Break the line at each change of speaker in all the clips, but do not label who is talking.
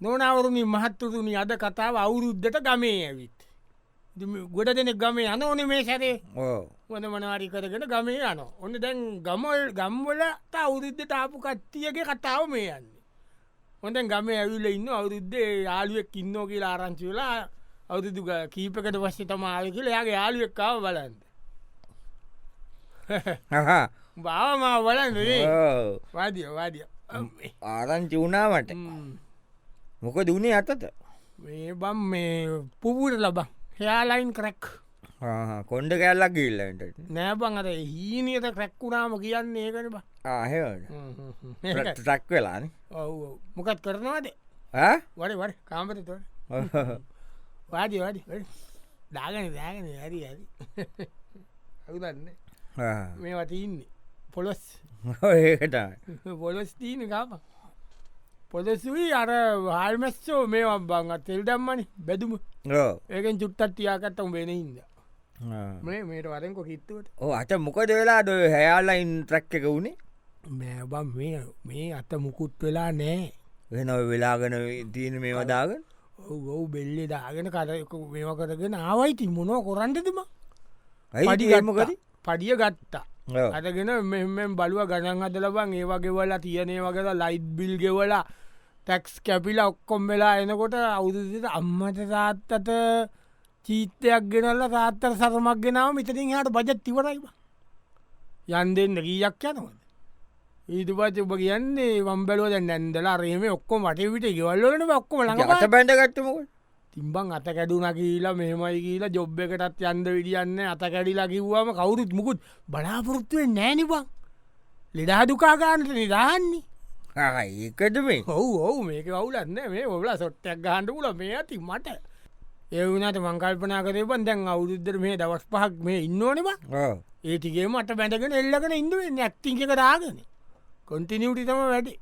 නොනවරුණි මහත්තුරුණි අද කතාව අවුරුද්ධට ගමේ ඇවිත්. ඉතින් මේ ගොඩ දෙනෙ ගමේ යන ඕන මේ සැරේ
ඕ
වන මනවාරි කරගෙන ගමේ යන ඔන්න දැන් ගමල් ගම්වල අවුරුද්ධ ආපු කට්ටියගේ කතාව මේ යන්න. හොඳන් ගම ඇවිල්ල ඉන්න අවුරුද්දේ යාලුවෙක් ඉන්නෝ කියලා ආරංචිවෙලා අවුරුදු ග- කීපකට වශ්‍ය තමාල් කියල යාගේ යාලුවෙක්කාව බලන්න.
හහා
බාවමාව බලන්න
ඕ
වාදිය වාදිය
ආරංචි වුණාමට මොක දුනේ අතත
මේ බම් මේ පුපුට ලබ හයාලයින් කරැක්
කොන්්ඩ කැල්ලක් ගිල්ලට
නෑබං අර හීනයට කරැක්කුණාම කියන්නේ ඒකන බා
ආහෙවට ටක් වෙලාන
ඔව් ඔව්. මොකත් කරනවාද වඩ වඩ කාමරත වාඩි වඩි දාගන දාගන හරි හරි හදන්න මේ වටඉන්නේ පොලොස්
ඒකට
පොලොස් තීන කාප පොදසුයි අර හල්මස්සෝ මේ අබංග තෙල් දම්මනි බැදුම
ඕ
ඒකෙන් චුට්ටත් තියාකත්තම් වෙන ඉද මේ මේට වරෙන්කො කිත්තුවට
ඕ අත මොකද වෙලා ද හැයාලයින් ට්‍රක් එක වුණේ
මෑබම් මේ මේ අත මුකුත් වෙලා නෑ
වෙන ඔය වෙලාගෙන තියන මේ වදාගෙන
ඔව් බෙල්ලෙ දාගෙන කරයක මේවා කරගෙන ආවයිති මොනෝ කොරන්ටතිම
අයිඩිගමකද
පඩිය ගත්තා අදගෙන මෙමෙන් බලුව ගණන් අද ලබන් ඒවාගෙවලා තියනේ වගේ ලයිට් බිල් ගෙවලා ටැක්ස් කැපිලා ඔක්කොම් වෙලා එනකොට අවුදුසිට අම්මට තාත්තට චීත්තයක් ගෙනල්ල තාත්තර සරමක් ගෙනාව මිතරින් හට බජත් තිවරයිබ යන් දෙන්න ගීයක් යනවද ඊට පච ඔබ කියන්නේ වම්බලෝද නැන්දලා රේම ඔක්කොම වටවිට ගෙවල්ලන ඔක්කොම
අත
ලඟ
බැඩ ගට්ටමක
තිම්බං අත කැඩුන කියලා මෙහමයි කියලා ජොබ් එකටත් යන්ද විඩියන්න අත කැඩිලා කිව්වාම කවුරුත් මුකුත් බලාපොරොත්තුවෙන් නෑනිබං ලෙඩා දුකාගානට නිදාන්නේ
ඒකට මේ
ඔවු ඔවු මේක වුලන්න මේ ඔබල සොට්ටයක් ගහන්ඩ පුල මේ ඇති මට ඒ වනට මංකල්පනා කරේපන් දැන් අවුරුද්දර මේ දවස් පහක් මේ ඉන්නඕනවා
ඕ
ඒතිගේ මට බැඳගෙන එල්ලගෙන ඉඳුව නැක්තිංක කරාගෙන කොන්ටිනියටි තම වැඩි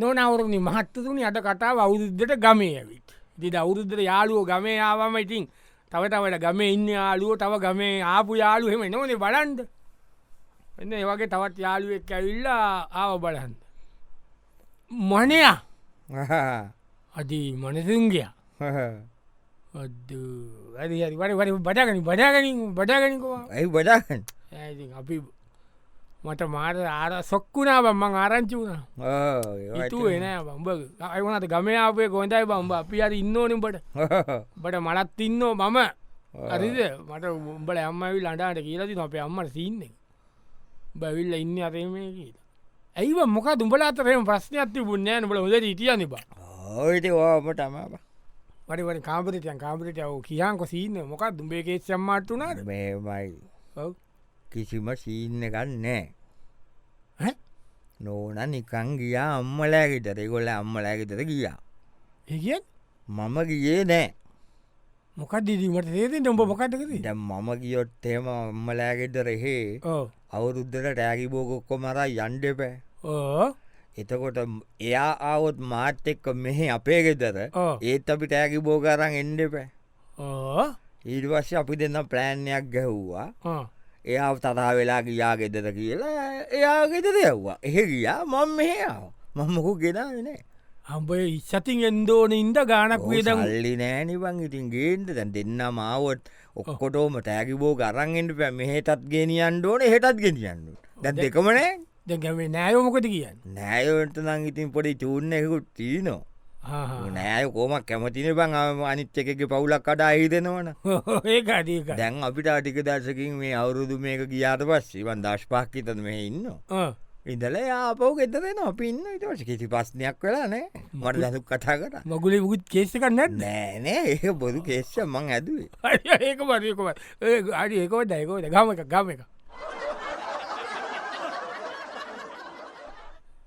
නොනවරුණනි මහත්තතුනි අට කතා අවුරුද්ධට ගමේ ඇවිත් දි අවුරුද්ධර යාලුවෝ ගමේ ආවම ඉතින් තවතවට ගමේ ඉන්න යාලුවෝ තව ගමේ ආපු යාලුහෙම නොනේ බලන්ද එන්න ඒවගේ තවත් යාලුවෙක් ඇවිල්ලා ආව බලන්න මනයා අදී මනසුන්ගයා අද ඇරි හරි වඩ වඩ බඩාගනි බඩාගනින් බඩාගනිකවා
ඇයි බඩාගන්න
ඇති අපි මට මාර ආර සොක්කුණා බම්මං ආරංචි වුණා ඉතු එන බම්බ අයවනට ගමයාපේ කොඳයි බම්බ අපි අර ඉන්නෝනම්බට බට මලත් ඉන්නෝ මම අරිද මට උඹල අම්මවි ලඩාට කියලති අපේ අම්මට සින්නේ බැවිල්ල ඉන්න අතේ මේ කියලා ඇයිව මොක දුඹල අතරම ප්‍රශ්නයක්ති පුුණ්ඥය නබල හොද ඉටිය නිබා
ඕයිට ඕම තමාප
වඩිවට කාපරිටයන් කාපරිට ඔව කියන්කො සිීන්න මොකක් දුම්බේකේ සම්මාට වුණාද
මේමයි
ඔව්.
කිසිම සීන්න ගන්නෑ
ඈ?
නෝන නිකං ගියා අම්මලෑගෙතර ගොල අම්මලෑගෙතර ගියා
ඒ කියන්
මම ගියේ නෑ
මොකක් දිදීමට තේතින් උඹ මොකටකද
ඉඩම් මම ගියොත් එම අම්මලෑගෙතරෙහේ
ඕ
අවුරුද්දට ටෑගි බෝගොක්කො මර යන්ඩපෑ
ඕ
එතකොට ම්- එයා ආවොත් මාත් එක්ක මෙහෙ අපේ ගෙදර
ඕ
ඒත් අපි ටෑගි බෝගරන් එන්ඩපෑ
ඕ
ඊඩවස්ස අපි දෙන්න ප්ලෑන්යක් ගැහ්වා එයා තරා වෙලා ගියා ගෙදර කියලා එයා ගෙදර යව්වා එහෙ ගියා මං මෙහාව මංමකු ගෙනනෑ
හම්බය ඉස්සතින් එන්දෝන ඉන්ද
Oh,
ගානක් වේද
ල්ලි නෑනිවන් ඉතින් ගේන්ට දැන් දෙන්න මාවොත් ඔක්කොටෝම තෑකිබෝ ගරන්ෙන්ට පැ මෙහෙටත් ගෙනියන් ඕන හෙටත් ගෙනියන්න දැ දෙකමනෑ
දැගැේ නෑයෝමොකද කියන්න
නෑයෝට නං ඉතින් පොඩි චූන්න එකකුත් තිීනෝ නෑය කෝමක් කැමතින බං ආ අනිත් එකක පවුලක් අඩා හිදෙනවන
ඒකඩක
දැන් අපිට අටික දර්ශකින් මේ අවුරුදු මේක ගියාට පස්සේවන් දශ්පාක් හිතන මෙ ඉන්න ඉඳල යාපව ගෙතරෙන අපි ඉන්න ඉටට කිසි පස්්නයක් වෙලා නෑ මට ලසු කතා කර
මගුලේ පුකුත් කේසිකක් නැන්න
නෑනෑ ඒ බොදු කේෂ මං ඇදුවේ
ඒක පරයකම අඩි ඒකව දැකෝද ගම එක ගම එක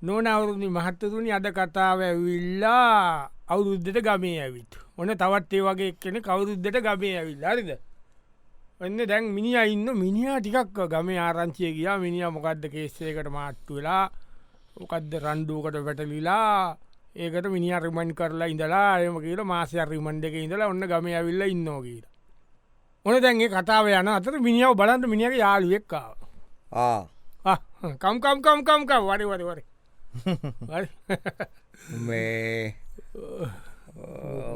නොනවරුණි මහත්තතුනි අද කතාව ඇවිල්ලා අවුරුද්ධට ගමේ ඇවිත් ඔන තවත් ඒ වගේ කෙන කවුරුද්ධට ගමේ ඇවිල් අරිද ඔන්න දැන් මිනි අඉන්න මිනිා ටිකක් ගමේ ආරංචිය ගියා මිනිිය මොකක්ද කේස්සේකට මාට්ටු වෙලා මොකක්ද රණ්ඩුවකට වැටලිලා ඒකට මිනි අරිමන් කරලා ඉඳලා එම කියල මාසය අරිමන්ඩ එක ඉඳලා ඔන්න ගම ඇවිල්ල ඉන්නෝ කියීට ඕන දැන්ගේ කතාව යන අතර මිනිියාව බලන්ට මිනිියක යාළුවෙක්කාව
ආ
කම්කම්කම්කම්කම් වරිවරිවර හරි.
මේ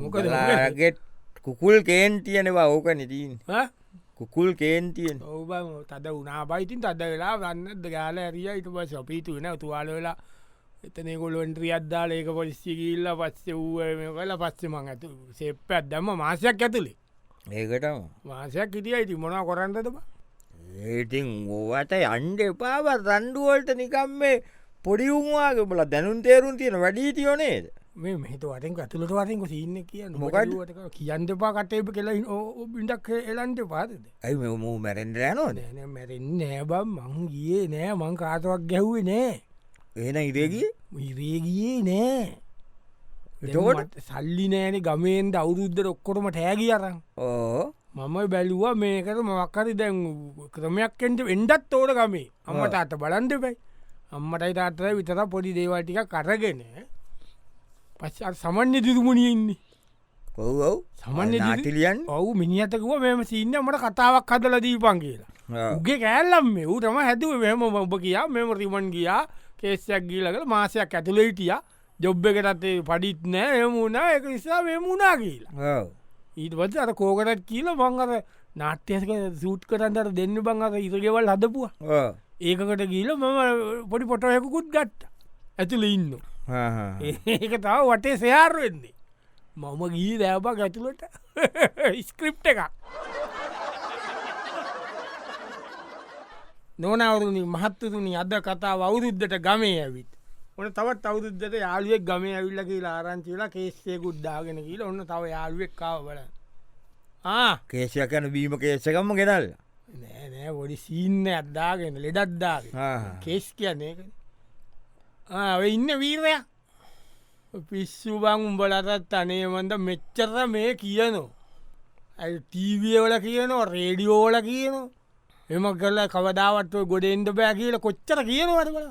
මොකද
ගෙට් කුකුල් කේන් තියෙනවා ඕක නිතින්
ඈ?
කුකුල් කේන් තියෙන
ඔබ තද වනා පයිතින් තද වෙලා ගන්නද ගාල ඇරිය ඉට ප සපීතු වෙන තුවාල වෙලා එතනෙකොලොන්ට්‍රිය අද්දාල ඒක පොලිස්සිකිල්ල පස්සේ වූ කල පස්සේ මං ඇතු සෙප්ප අදම්ම මාසයක් ඇතුළේ
ඒකටම
මාසයක් හිටිය ඉති මොනා කොරන්නදම
ඒටින් ඕවට අන්ඩ එපාව රණ්ඩුවල්ට නිකම් මේ පොඩිවුම්වාගේ බල දැනුන් තේරුම් තියෙන වැඩීතියෝනේද
මේ මෙහත වටෙන් ඇතුළට වරෙන්ක සින්න කිය
මොකක්ද?
කියන්ටපා කටේප කෙලයි බිඩක් එලන්ට පාතද
ඇයි මෙ මූ මැරෙන්ඩ යනෝද
නෑන මැරෙන් නෑබම් මං ගියේ නෑ මං කාතවක් ගැව්වේ නෑ
එන ඉරේගිය
ඉරේගියේ නෑ
එතකොට?
එතකොට සල්ලි නෑන ගමෙන් අවුරුද්ධ ඔක්කොටම ටෑගිය අරන්
ඕ
මම බැලුවා මේකට මක්කරි දැන් ක්‍රමයක් එට එන්ඩත් ඕට ගමේ අම්මට අත බලන්ට පැයි අම්මටයි තාත්තර විතර පොඩි දේවල්ටික කරගෙන පස් සමන්්‍ය දිදුමුණියන්නේ
කොව්
සමන්්‍ය
නාටිලියන්
ඔවු මිනිියතකුව මෙම සින්න මට කතාවක් කදල දීපන් කියලා උගේ කෑල්ලම් මේ ඌටම හැතුව මෙම ඔබ කියා මෙම රිමන් ගියා කේස්සයක් ගීලකට මාසයක් ඇතුළෙටිය ජොබ් එකටත් ඒ පඩිත් නෑ එමුණා එක නිසා මෙමුණා කියලා ඊට පස අර කෝකටත් කියල මංගර නාට්‍යයක සූට් කරන්ට දෙන්න බංගර ඉසගෙවල් හදපුුව ඒකට ගීල මම පොඩි පොටයකුකුත් ගට්ට ඇතුළ ඉන්න ඒක තාව වටේ සයාර වෙන්නේ මම ගී දෑපක් ඇතුළට ස්ක්‍රිප් එකක් නොනවරුණි මහත්තතුනි අද කතාව අවුරුද්ධට ගමේ ඇවිත් ඕන තවත් අවුරුද්ධට යාළුවෙක් ගමේ ඇවිල්ල කියලා ආරංචිලා කේස්සේ ගුද්දාගෙන කියල ඔන්න තව යාළුවෙක් කාව බල
කේෂයක් යන බීම කේසකම්ම ගෙනල්
නෑනෑ ොඩි සීන්න අද්දාගෙන ලෙඩත්දාග කේස් කියන්නේ ඒකනේ. ආ, ඔය ඉන්න වීරය පිස්සු බං උඹලටත් අනේමන්ද මෙච්චර මේ කියනෝ ටීවියවල කියනෝ රේඩියෝල කියනෝ එම කරලා කවදාවත්ව ගොඩෙන්ට බෑ කියල කොච්චර කියනවට කළ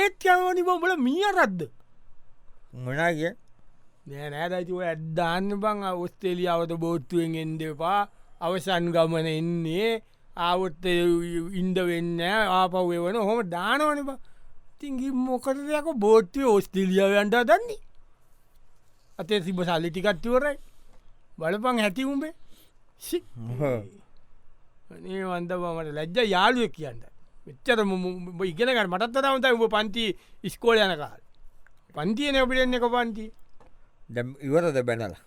ඒත් යනනි බොබල මිය රද්ද
මොනා කිය
නෑ නෑදැතිව ඇද්දාන්න බං ඔස්තේලියාවට බෝට්ටුවෙන් එන්ඩපා අවසන් ගමන එන්නේ ආවොත්ත ඉන්ඩ වෙන්න ආපව්ය වන හොම දානවනි තිංගි මොකරයක බෝට්ටය ඔස්ටේලියාවන්ට දන්නේ අතේ සිබ සල්ලිටිකත්තිවරයි බලපං හැතිවුම්බේ සි අනේ වන්ද මට ලැජ්ජ යාළුව කියන්න මෙච්චර ඉගෙනකට මටත් දමතයි උඹ පන්ති ඉස්කෝල යන කාල පන්තියන අපිටෙන්න එක පන්තිී
දැම් ඉවරද බැනලා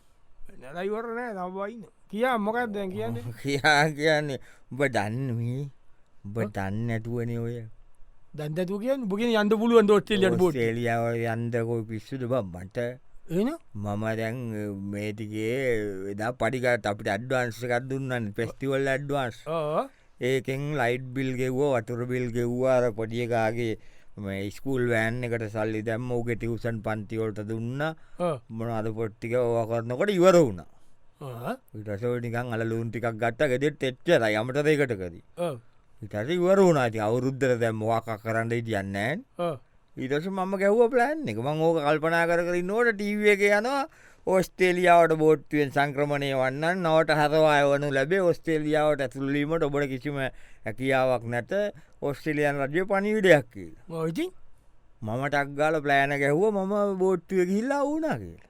නැරයිවරණය තවයින කියා මොකක් දැන් කියන්න
කියා කියන්නේ උඹ දන්නමී උඹ දන්න ඇටුවන ඔය
දැන්තතු කිය බගෙන යන්න පුළුවන් දොට්ටෙලියට බොට
ටේලියාව යන්දකෝ පිස්සුද බ මට
එන
මම දැන් මේටිගේ වෙදා පඩිකට අපිට අඩ්වාන්සකක් දුන්නන්න පෙස්ටිවල් අඩ්වාන්ස් ඒකෙන් ලයිට් බිල් ගෙව්වා වතුර බිල් ගෙව්වාර පොඩියකාගේ මේ ස්කූල් වෑන් එකට සල්ලි දැම්ම ඌගේ ටිවසන් පන්තිවොල්ට දුන්න මොන අද පොට්ටික ඕවා කරනකොට ඉවර වුණ විටසෝටිකන් අලුන් ටිකක් ගත්ත ගෙදෙට එච්චර යමට දෙකටකදී ඉටට ඉවර වුණ ඇති අවුරුද්ධර දැම් වාකක් කරන්න ඉටියන්නෑන් ඊටස මම ගැව්ව ප්ලෑන් එක මං ඕක කල්පනා කර කරින් නෝට ටීව එක යනවා ඔස්ටේලියාවට බෝට්ටුවෙන් සංක්‍රමණය වන්න නවට හතවා වනු ලැබේ ඔස්ටේලියාවට ඇතුළීමට ඔබට කිසිම හැකියාවක් නැත ඔස්ට්‍රේලියන් රජය පනිවිඩයක් කියලා
ඉතින්
මම ටක්ගාල ප්ලෑන ගැහුව මම බෝට්ටුව කිල්ලා වුණා කියලා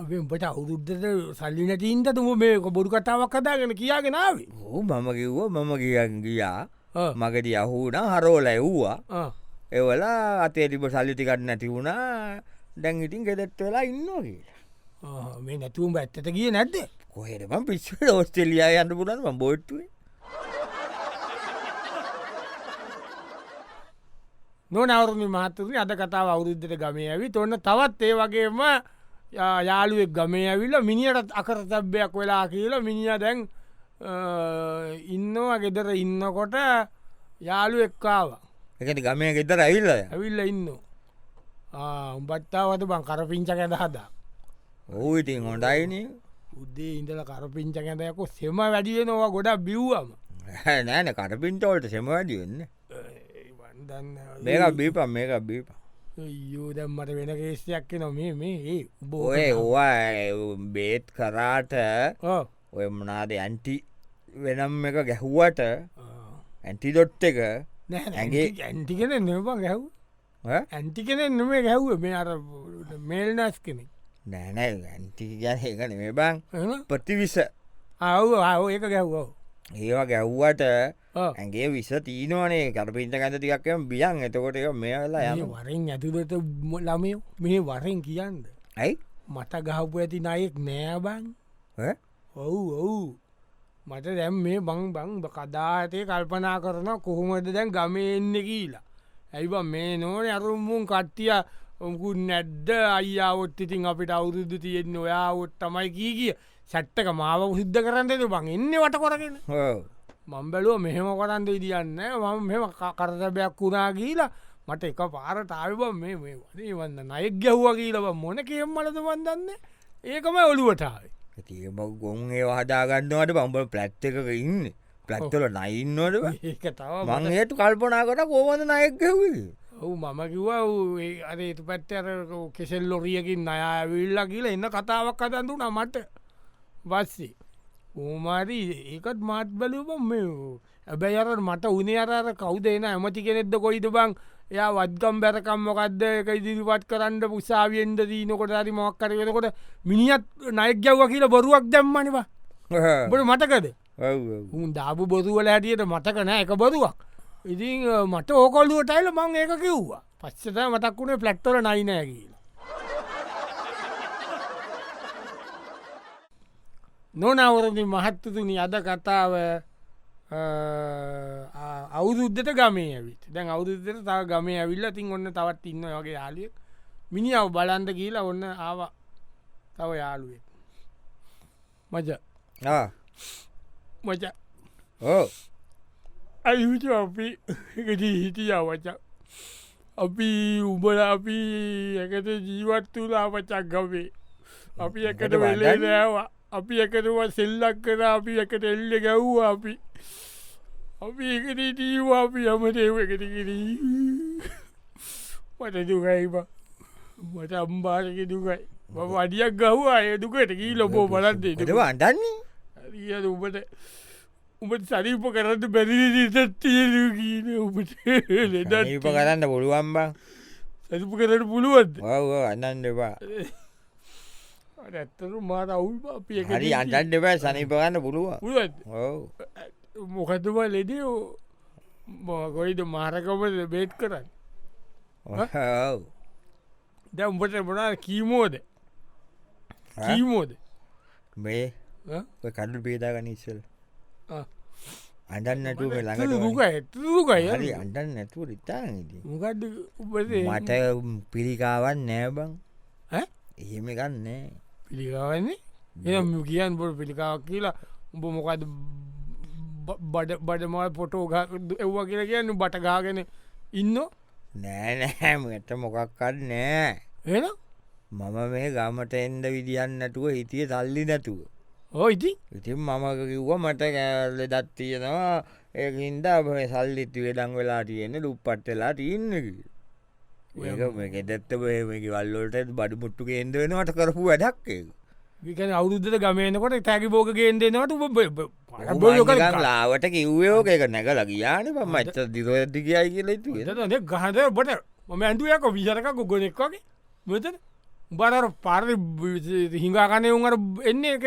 අපේ උඹට අවුරුද්ධට සල්ලි නැටීන්ට තුම මේක බොඩු කතාවක් කතාගෙන කියාගෙනාවේ
හෝ මම කිව්ව මම කියන් ගියා මගට අහුන හරෝල ඇව්වා එවලා අතේ තිබ සල්ලිටිකට නැති වුණා දැන් ඉටින් ගෙදෙත් වෙලා ඉන්නවා කියලා
මේ නැතුවම් ඇත්තට කිය නැද්ද
කොහෙරම පිස්වට ඔස්ටෙලියයා යන්න පුලන්ම බෝට්ටුවේ
නොනවරුණි මහත්තුරින් අද කතාව අවුරුද්ධට ගමේ ඇවි ඔන්න තවත් ඒ වගේම යා- යාළුවෙක් ගමේ ඇවිල්ල මිනිියට අකරතබ්බයක් වෙලා කියලා මිනිිය දැන් අ, ඉන්නවා ගෙදර ඉන්නකොට යාළු එක්කාව
එකට ගමය ගෙතර ඇවිල්ල
ඇවිල්ල ඉන්න උඹත්තාවත බං කරපිංච කැඳ හදා
ඕවිටින් හොඩයින
උද්දේ ඉඳල කරපිංච කැඳයකු සෙම වැඩිය නොවා ගොඩා බිව්වම
නෑන කටපින්ටවලට සෙමවැඩිවෙන්න
වන්දන්න
මේක බීපම් මේක බීප
යෝදැම්මට වෙන කේෂයක් නොමේ මේ ඒ බෝය
ඔය ඕවා බේත් කරාට ඔය මනාද ඇන්ටි වෙනම් එක ගැහුවට ඇන්ටිඩොට් එක
නෑ
ඇගේ-
ඇන්ටිකෙන නවා ගැව් ඇන්ටි කෙනෙක් නොමේ ගැව්ව මේ අර මේල්නස් කෙනෙක්
නෑනෑ ඇන්ටි ගැන එකන මේ බං
එහෙම?
ප්‍රතිවිස
ආව් ආව ඒක ගැව්වෝ
ඒවා ගැව්වට ඇගේ විස තීනවනේ කරපින්ට ගඳ තිකක්ම බියන් එතකොට එක මේ වෙලා යන
වරෙන් ඇතුදට ළමයෝ මේ වරෙන් කියන්න
ඇයි
මට ගහපු ඇති නයෙක් නෑබන්
ඈ?
ඔවු ඔවු මට දැම් මේ බං බං බ කදාතය කල්පනා කරන කොහොමද දැන් ගමෙන්න කියලා ඇයිබ මේ නෝන අරුම්මුන් කට්ටිය ඔකු නැද්ද අයියාවොත් ඉතින් අපිට අවුරුද්ධ තියෙන්න්න ඔයාවොත් තමයි කී කිය සැට්ටක මාව සිද්ධ කරන්නද බං එන්න වට කොරගෙන
ඔව්.
මං බැලුව මෙහෙම කරන්ද ඉදිියන්න මම මෙම කරතබයක් වුණා කියලා මට එක පාරටාව මේ මේ වනේ වන්න නයෙක් ගැව්වා කියලව මොන කියෙම් මලද වන්දන්න ඒකම ඔළුවටාව
ඉතින් ඔබ ගොන් ඒ හදාගන්නවට බම්බල ප්ලැට් එකක ඉන්න ප්ලැක්්තල නයින්නවට
ඒක තව
මං ඒතු කල්පනා කට කෝවද නයක්ගව
ඔවු මම කිව්වා ඌ ඒ අර එතු පැත්ත අර කෙසෙල් ලොරියකින් අයවිල්ල කියල එන්න කතාවක් කතන්තු නමට වස්සේ ඕමාරි ඒකත් මාත් බලප ඇබැයි අර මට උනේ අරර කවුදේන ඇමති කෙනෙක්ද කොයිද බං එයා වත්ගම් බැරකම් මොකක්ද එක ඉදිරිපත් කරන්න පුසාාවෙන්ද දීනකොට හරි මොක් කරවෙනකොට මිනිියත් නයක්ජව්ව කියල බොරුවක් දැම්මනවා බොට මටකද උන් දාපු බොරුවල ඇටියට මතක නෑ එක බොරුවක් ඉතින් අ, මට ඕකොල්ලුවටයිල මං ඒක කිව්වා පස්සත මතක් වුණේ පලක්ටර නයිනෑ කියලා නොනවරදි මහත්තතුනි අද කතාව අ, ආ, අවුරුද්දට ගමේ ඇවිත් දැන් අවුරුද්දට තව ගමේ ඇවිල්ල තින් ඔන්න තවත් ඉන්න වගේ යාලියෙක් මිනිියාව බලන්ද කියලා ඔන්න ආවා තව යාළුවෙක් මජ මචා
ඕ
අයිවිච අපි එකදී හිටියවච අපි උබල අපි එකට ජීවත් වලාපචක් ගවේ අපි එකට
මොකද
වෙලේ
වදන්නේ?
දෑවා අපි එකටව සෙල්ලක් කර අපි එකට එල්ල ගැව්ව අපි අපි එකට ටීවා අපි යමටව එකට කිරී මට දුකයිබ මට අම්බාරක දුකයි මම අඩියක් ගහ්වා අය දුකට කී ලොබෝ බලන්දේ
එට වන්ටන්නේ
ඇ උබට උබට සරීප කරන්න බැරිතත්තියලගීන උබට
ඉප
ලෙඩ
කරන්න පුළුවන්බා
සරිප කරට පුළුවන්ද
ඔව අන්නන් දෙවා
ඇත්තරු මාර අවුල් අපි එක
හරි අන්ටන් දෙබෑ සනිපගන්න පුළුව
පුළුවන්ද
ඔව
මොකතුම ලෙඩියෝ මොකොයිද මාරකමද බේට් කරන්න
ඔව
දැ උඹට බොනා කීමෝද කීමෝද
මේ ඔය කඩු පේදාගන ඉස්සල්
ආ.
අඩන් නැටුව ළඟට
දුක
හරි
ඇතුකයි
අඩන් නැතුව රිතානදී
මොකක්ද උබේ
මට පිරිකාවන් නෑබං
ඈ?
එහෙම ගන්නෑ
පිළිකාවන්නේ එම කියන් බොට පිළිකාවක් කියලා උඹ මොකද බ- බඩ බඩමල් පොටෝ එව්ව කියලා කියන්න බටගාගෙන ඉන්න
නෑනෑම ඇත මොකක්කත් නෑ
එන
මම මේ ගමට එන්ඩ විදිියන්න නැතුව හිතිය සල්ලි නැතුව
ඕ ඉති
ඉතින් මම කිව්ව මට කෑල්ල දත්තියෙනවා ඒකින්ද මේ සල්ලිත් වෙඩං වෙලා තියෙන දුප්පත් වෙලා තියන්නකි ඒක ගෙදත්ත වල්ලට බඩු මුට්ටු කේන්ද වෙනවට කරපු වැඩක් ඒක.
විකන අවුද්ධ ගමයනකොට තැකි බෝගගෙන් දෙනවට
ගම් ලාවට කිව්වයෝක එක නැකල ගියාන පම එත දිරෝඇති කියයි කියලා තු
ගහද බට මම ඇන්තුයක විචරක ගොනෙක් වගේ මෙත බර පාර හිඟාකනය උන්ට එන්න එක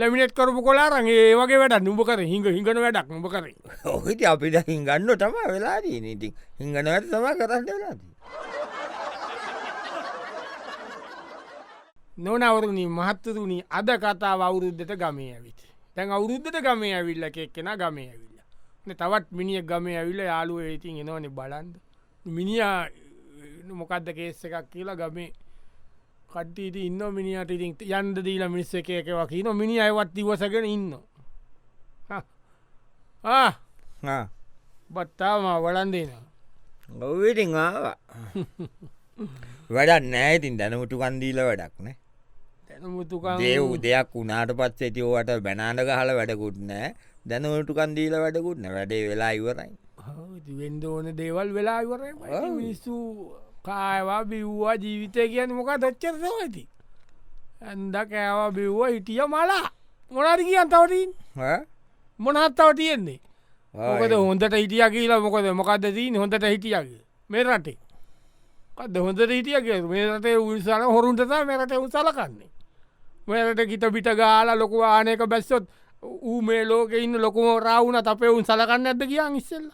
ලැමිනෙට් කරපු කොලා රගේ ඒ වගේ වැඩ නුඹ කර හිඟ හිඟන වැඩක් නුඹ කරේ
ඔහිති අපිට හිංගන්න තම වෙලා දීනඉතින් හිංගනවට තම කරන්න වෙලාදී.
නොනවරුණී මහත්තතුනි අද කතාව අවුරුද්ධට ගමේ ඇවිත් තැන් අවුරුද්ධට ගමේ ඇවිල්ල එකක් කෙන ගමේ ඇවිල්ල න තවත් මිනිිය ගමේ ඇවිල්ල යාලුව ඒතින් එනවන බලන්ද මිනිා මොකක්ද කේස්ස එකක් කියලා ගමේ කට්ටීට ඉන්න මිනිට ඉතින් යන්ද දීල මිනිස්ස එක එකවා කියන මිනි අයවත් ඉවසගෙන ඉන්න
ආ.
බත්තාම වලන්දේන
ඔවිටිං ආවා වැඩක් නෑතින් දැනමුටු කන්දීල වැඩක් නෑ
තැනමුතුකා
දේව් දෙයක් වුණට පත් ඇතිෝවට බැනාට ගහල වැඩකුත් නෑ දැනවටු කන්දීල වැඩකුත් නෑ වැඩේ වෙලා ඉවරයි
වෙන්ඩ ඕන දේවල් වෙලා ඉවර මිනිස්සු කායවා බිව්වා ජීවිතය කියන මොක දොච්චරද ඇති ඇන්ද කෑවා බිව්වා හිටිය මලා මොනාට කියන් තවටින්
ඈ?
මොනත්තාව තියෙන්නේ
ආ,
මොකද හොඳට හිටිය කියලා මොකද මොකක්ද දීන් හොඳට හිටියගේ මේ රටේ දොහොඳ හිටිය කිය මේ රටේ උල්සාන හොරුන්ටතා මෙරට උසලකන්නේ මෙරට කිට පිට ගාල ලොකවානයක බැස්සොත් ඌ මේ ලෝක ඉන්න ලොකුම රවුණ අපේ උන් සලකන්න ඇද කියන් ඉස්සෙල්ල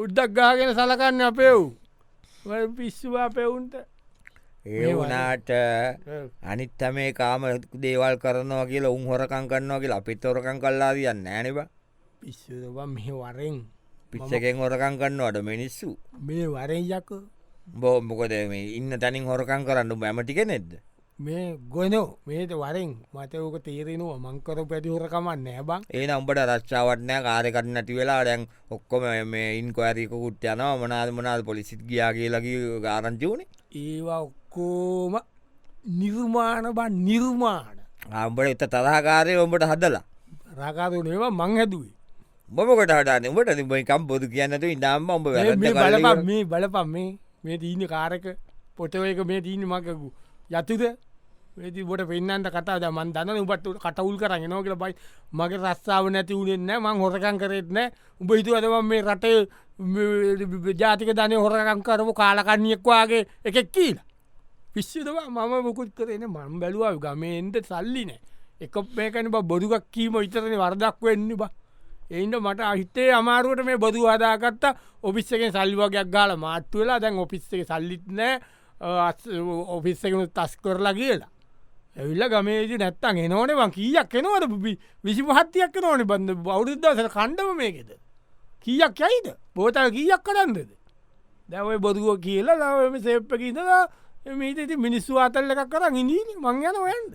උද්දක් ගාගෙන සලකන්න අපෙව් පිස්සුවා පෙවුන්ට
ඒ වනාට අනිත් මේ කාම දේවල් කරනවා කියලා උන් හොරකං කන්නවා කියලා අපිත් හොරකං කල්ලා දන්න නෑනිබ
පිස්සුවා මෙ වරෙන්
පිච්චකෙන් හොරකං කන්නවට මිනිස්සු
මේ වරෙන්යක
බෝ මොකද මේ ඉන්න තැනින් හොරකං කරන්න බැමටික නෙද්ද
මේ ගොනෝ මේට වරෙන් මතයෝක තේරෙනවා මංකර පැති හොරකමන්න නෑබං
ඒ නම්බට රච්චාවටනෑ කාරකට නැති වෙලා ඩැන් ඔක්කොම මේ ඉන්කොඇරික කුට්්‍යයන මනාද මනාද පොලිසිත් ගියා කියලකි ගාරංචිවුණේ
ඒවා ඔක්කෝම නිර්මාණ බන් නිර්මාණ
ආම්බට එත තරහාකාරය ඔඹට හදලා
රකාරුණේවා මං හැදුවේ
බොමකට හටන ට නිබයිකම් බොදු කියන්නට ඉඩම්ම ඔඹ
ඒ මේ බලපන් මේ බලපම් මේ මේ දීන කාරක පොටවයක මේ දීන මකකු යතුද ඒති බොට පෙන්න්නට කතාද මන් දන්න උබට කටවුල් කරන්න නෝ කියල බයි මගේ රස්සාාව නැති වුණෙන්න මං හොරකං කරෙත්න උඹ හිතු ඇතම මේ රටේ මේ ජාතික ධනය හොරකං කරපු කාලකන්නයෙක්වාගේ එකෙක් කියලා පිස්්චදවා මම මුකුත් කරන මං බැලුව ගමේන්ට සල්ලි නෑ එක මේකන බොරුගක් කීම ඉතරන වරදක් වෙන්න බා එයින්ට මට අහිතේ අමාරුවට මේ බොදු අදාකත්ත ඔෆිස්සකෙන් සල්ලිවගයක් ගාල මාත්තු වෙලා දැන් ඔෆිස්සක සල්ලිත් නෑ ඔෆිස්සකනු තස් කරලා කියලා ඇවිල්ල ගමේජ නැත්තන් එනෝනවන් කියක් එනවට විසි පහත්තියක් නෝන බඳ බෞද්ධසර කණ්ඩම මේකෙද කියක් යයිද බෝතල් කියක් කරන්දද දැවයි බොදුව කියලා ලම සේප්පකිතලා මීට ඉති මිනිස්සු අතල්ල එකක් කරන්න ඉනී මං යන ඔයන්ද.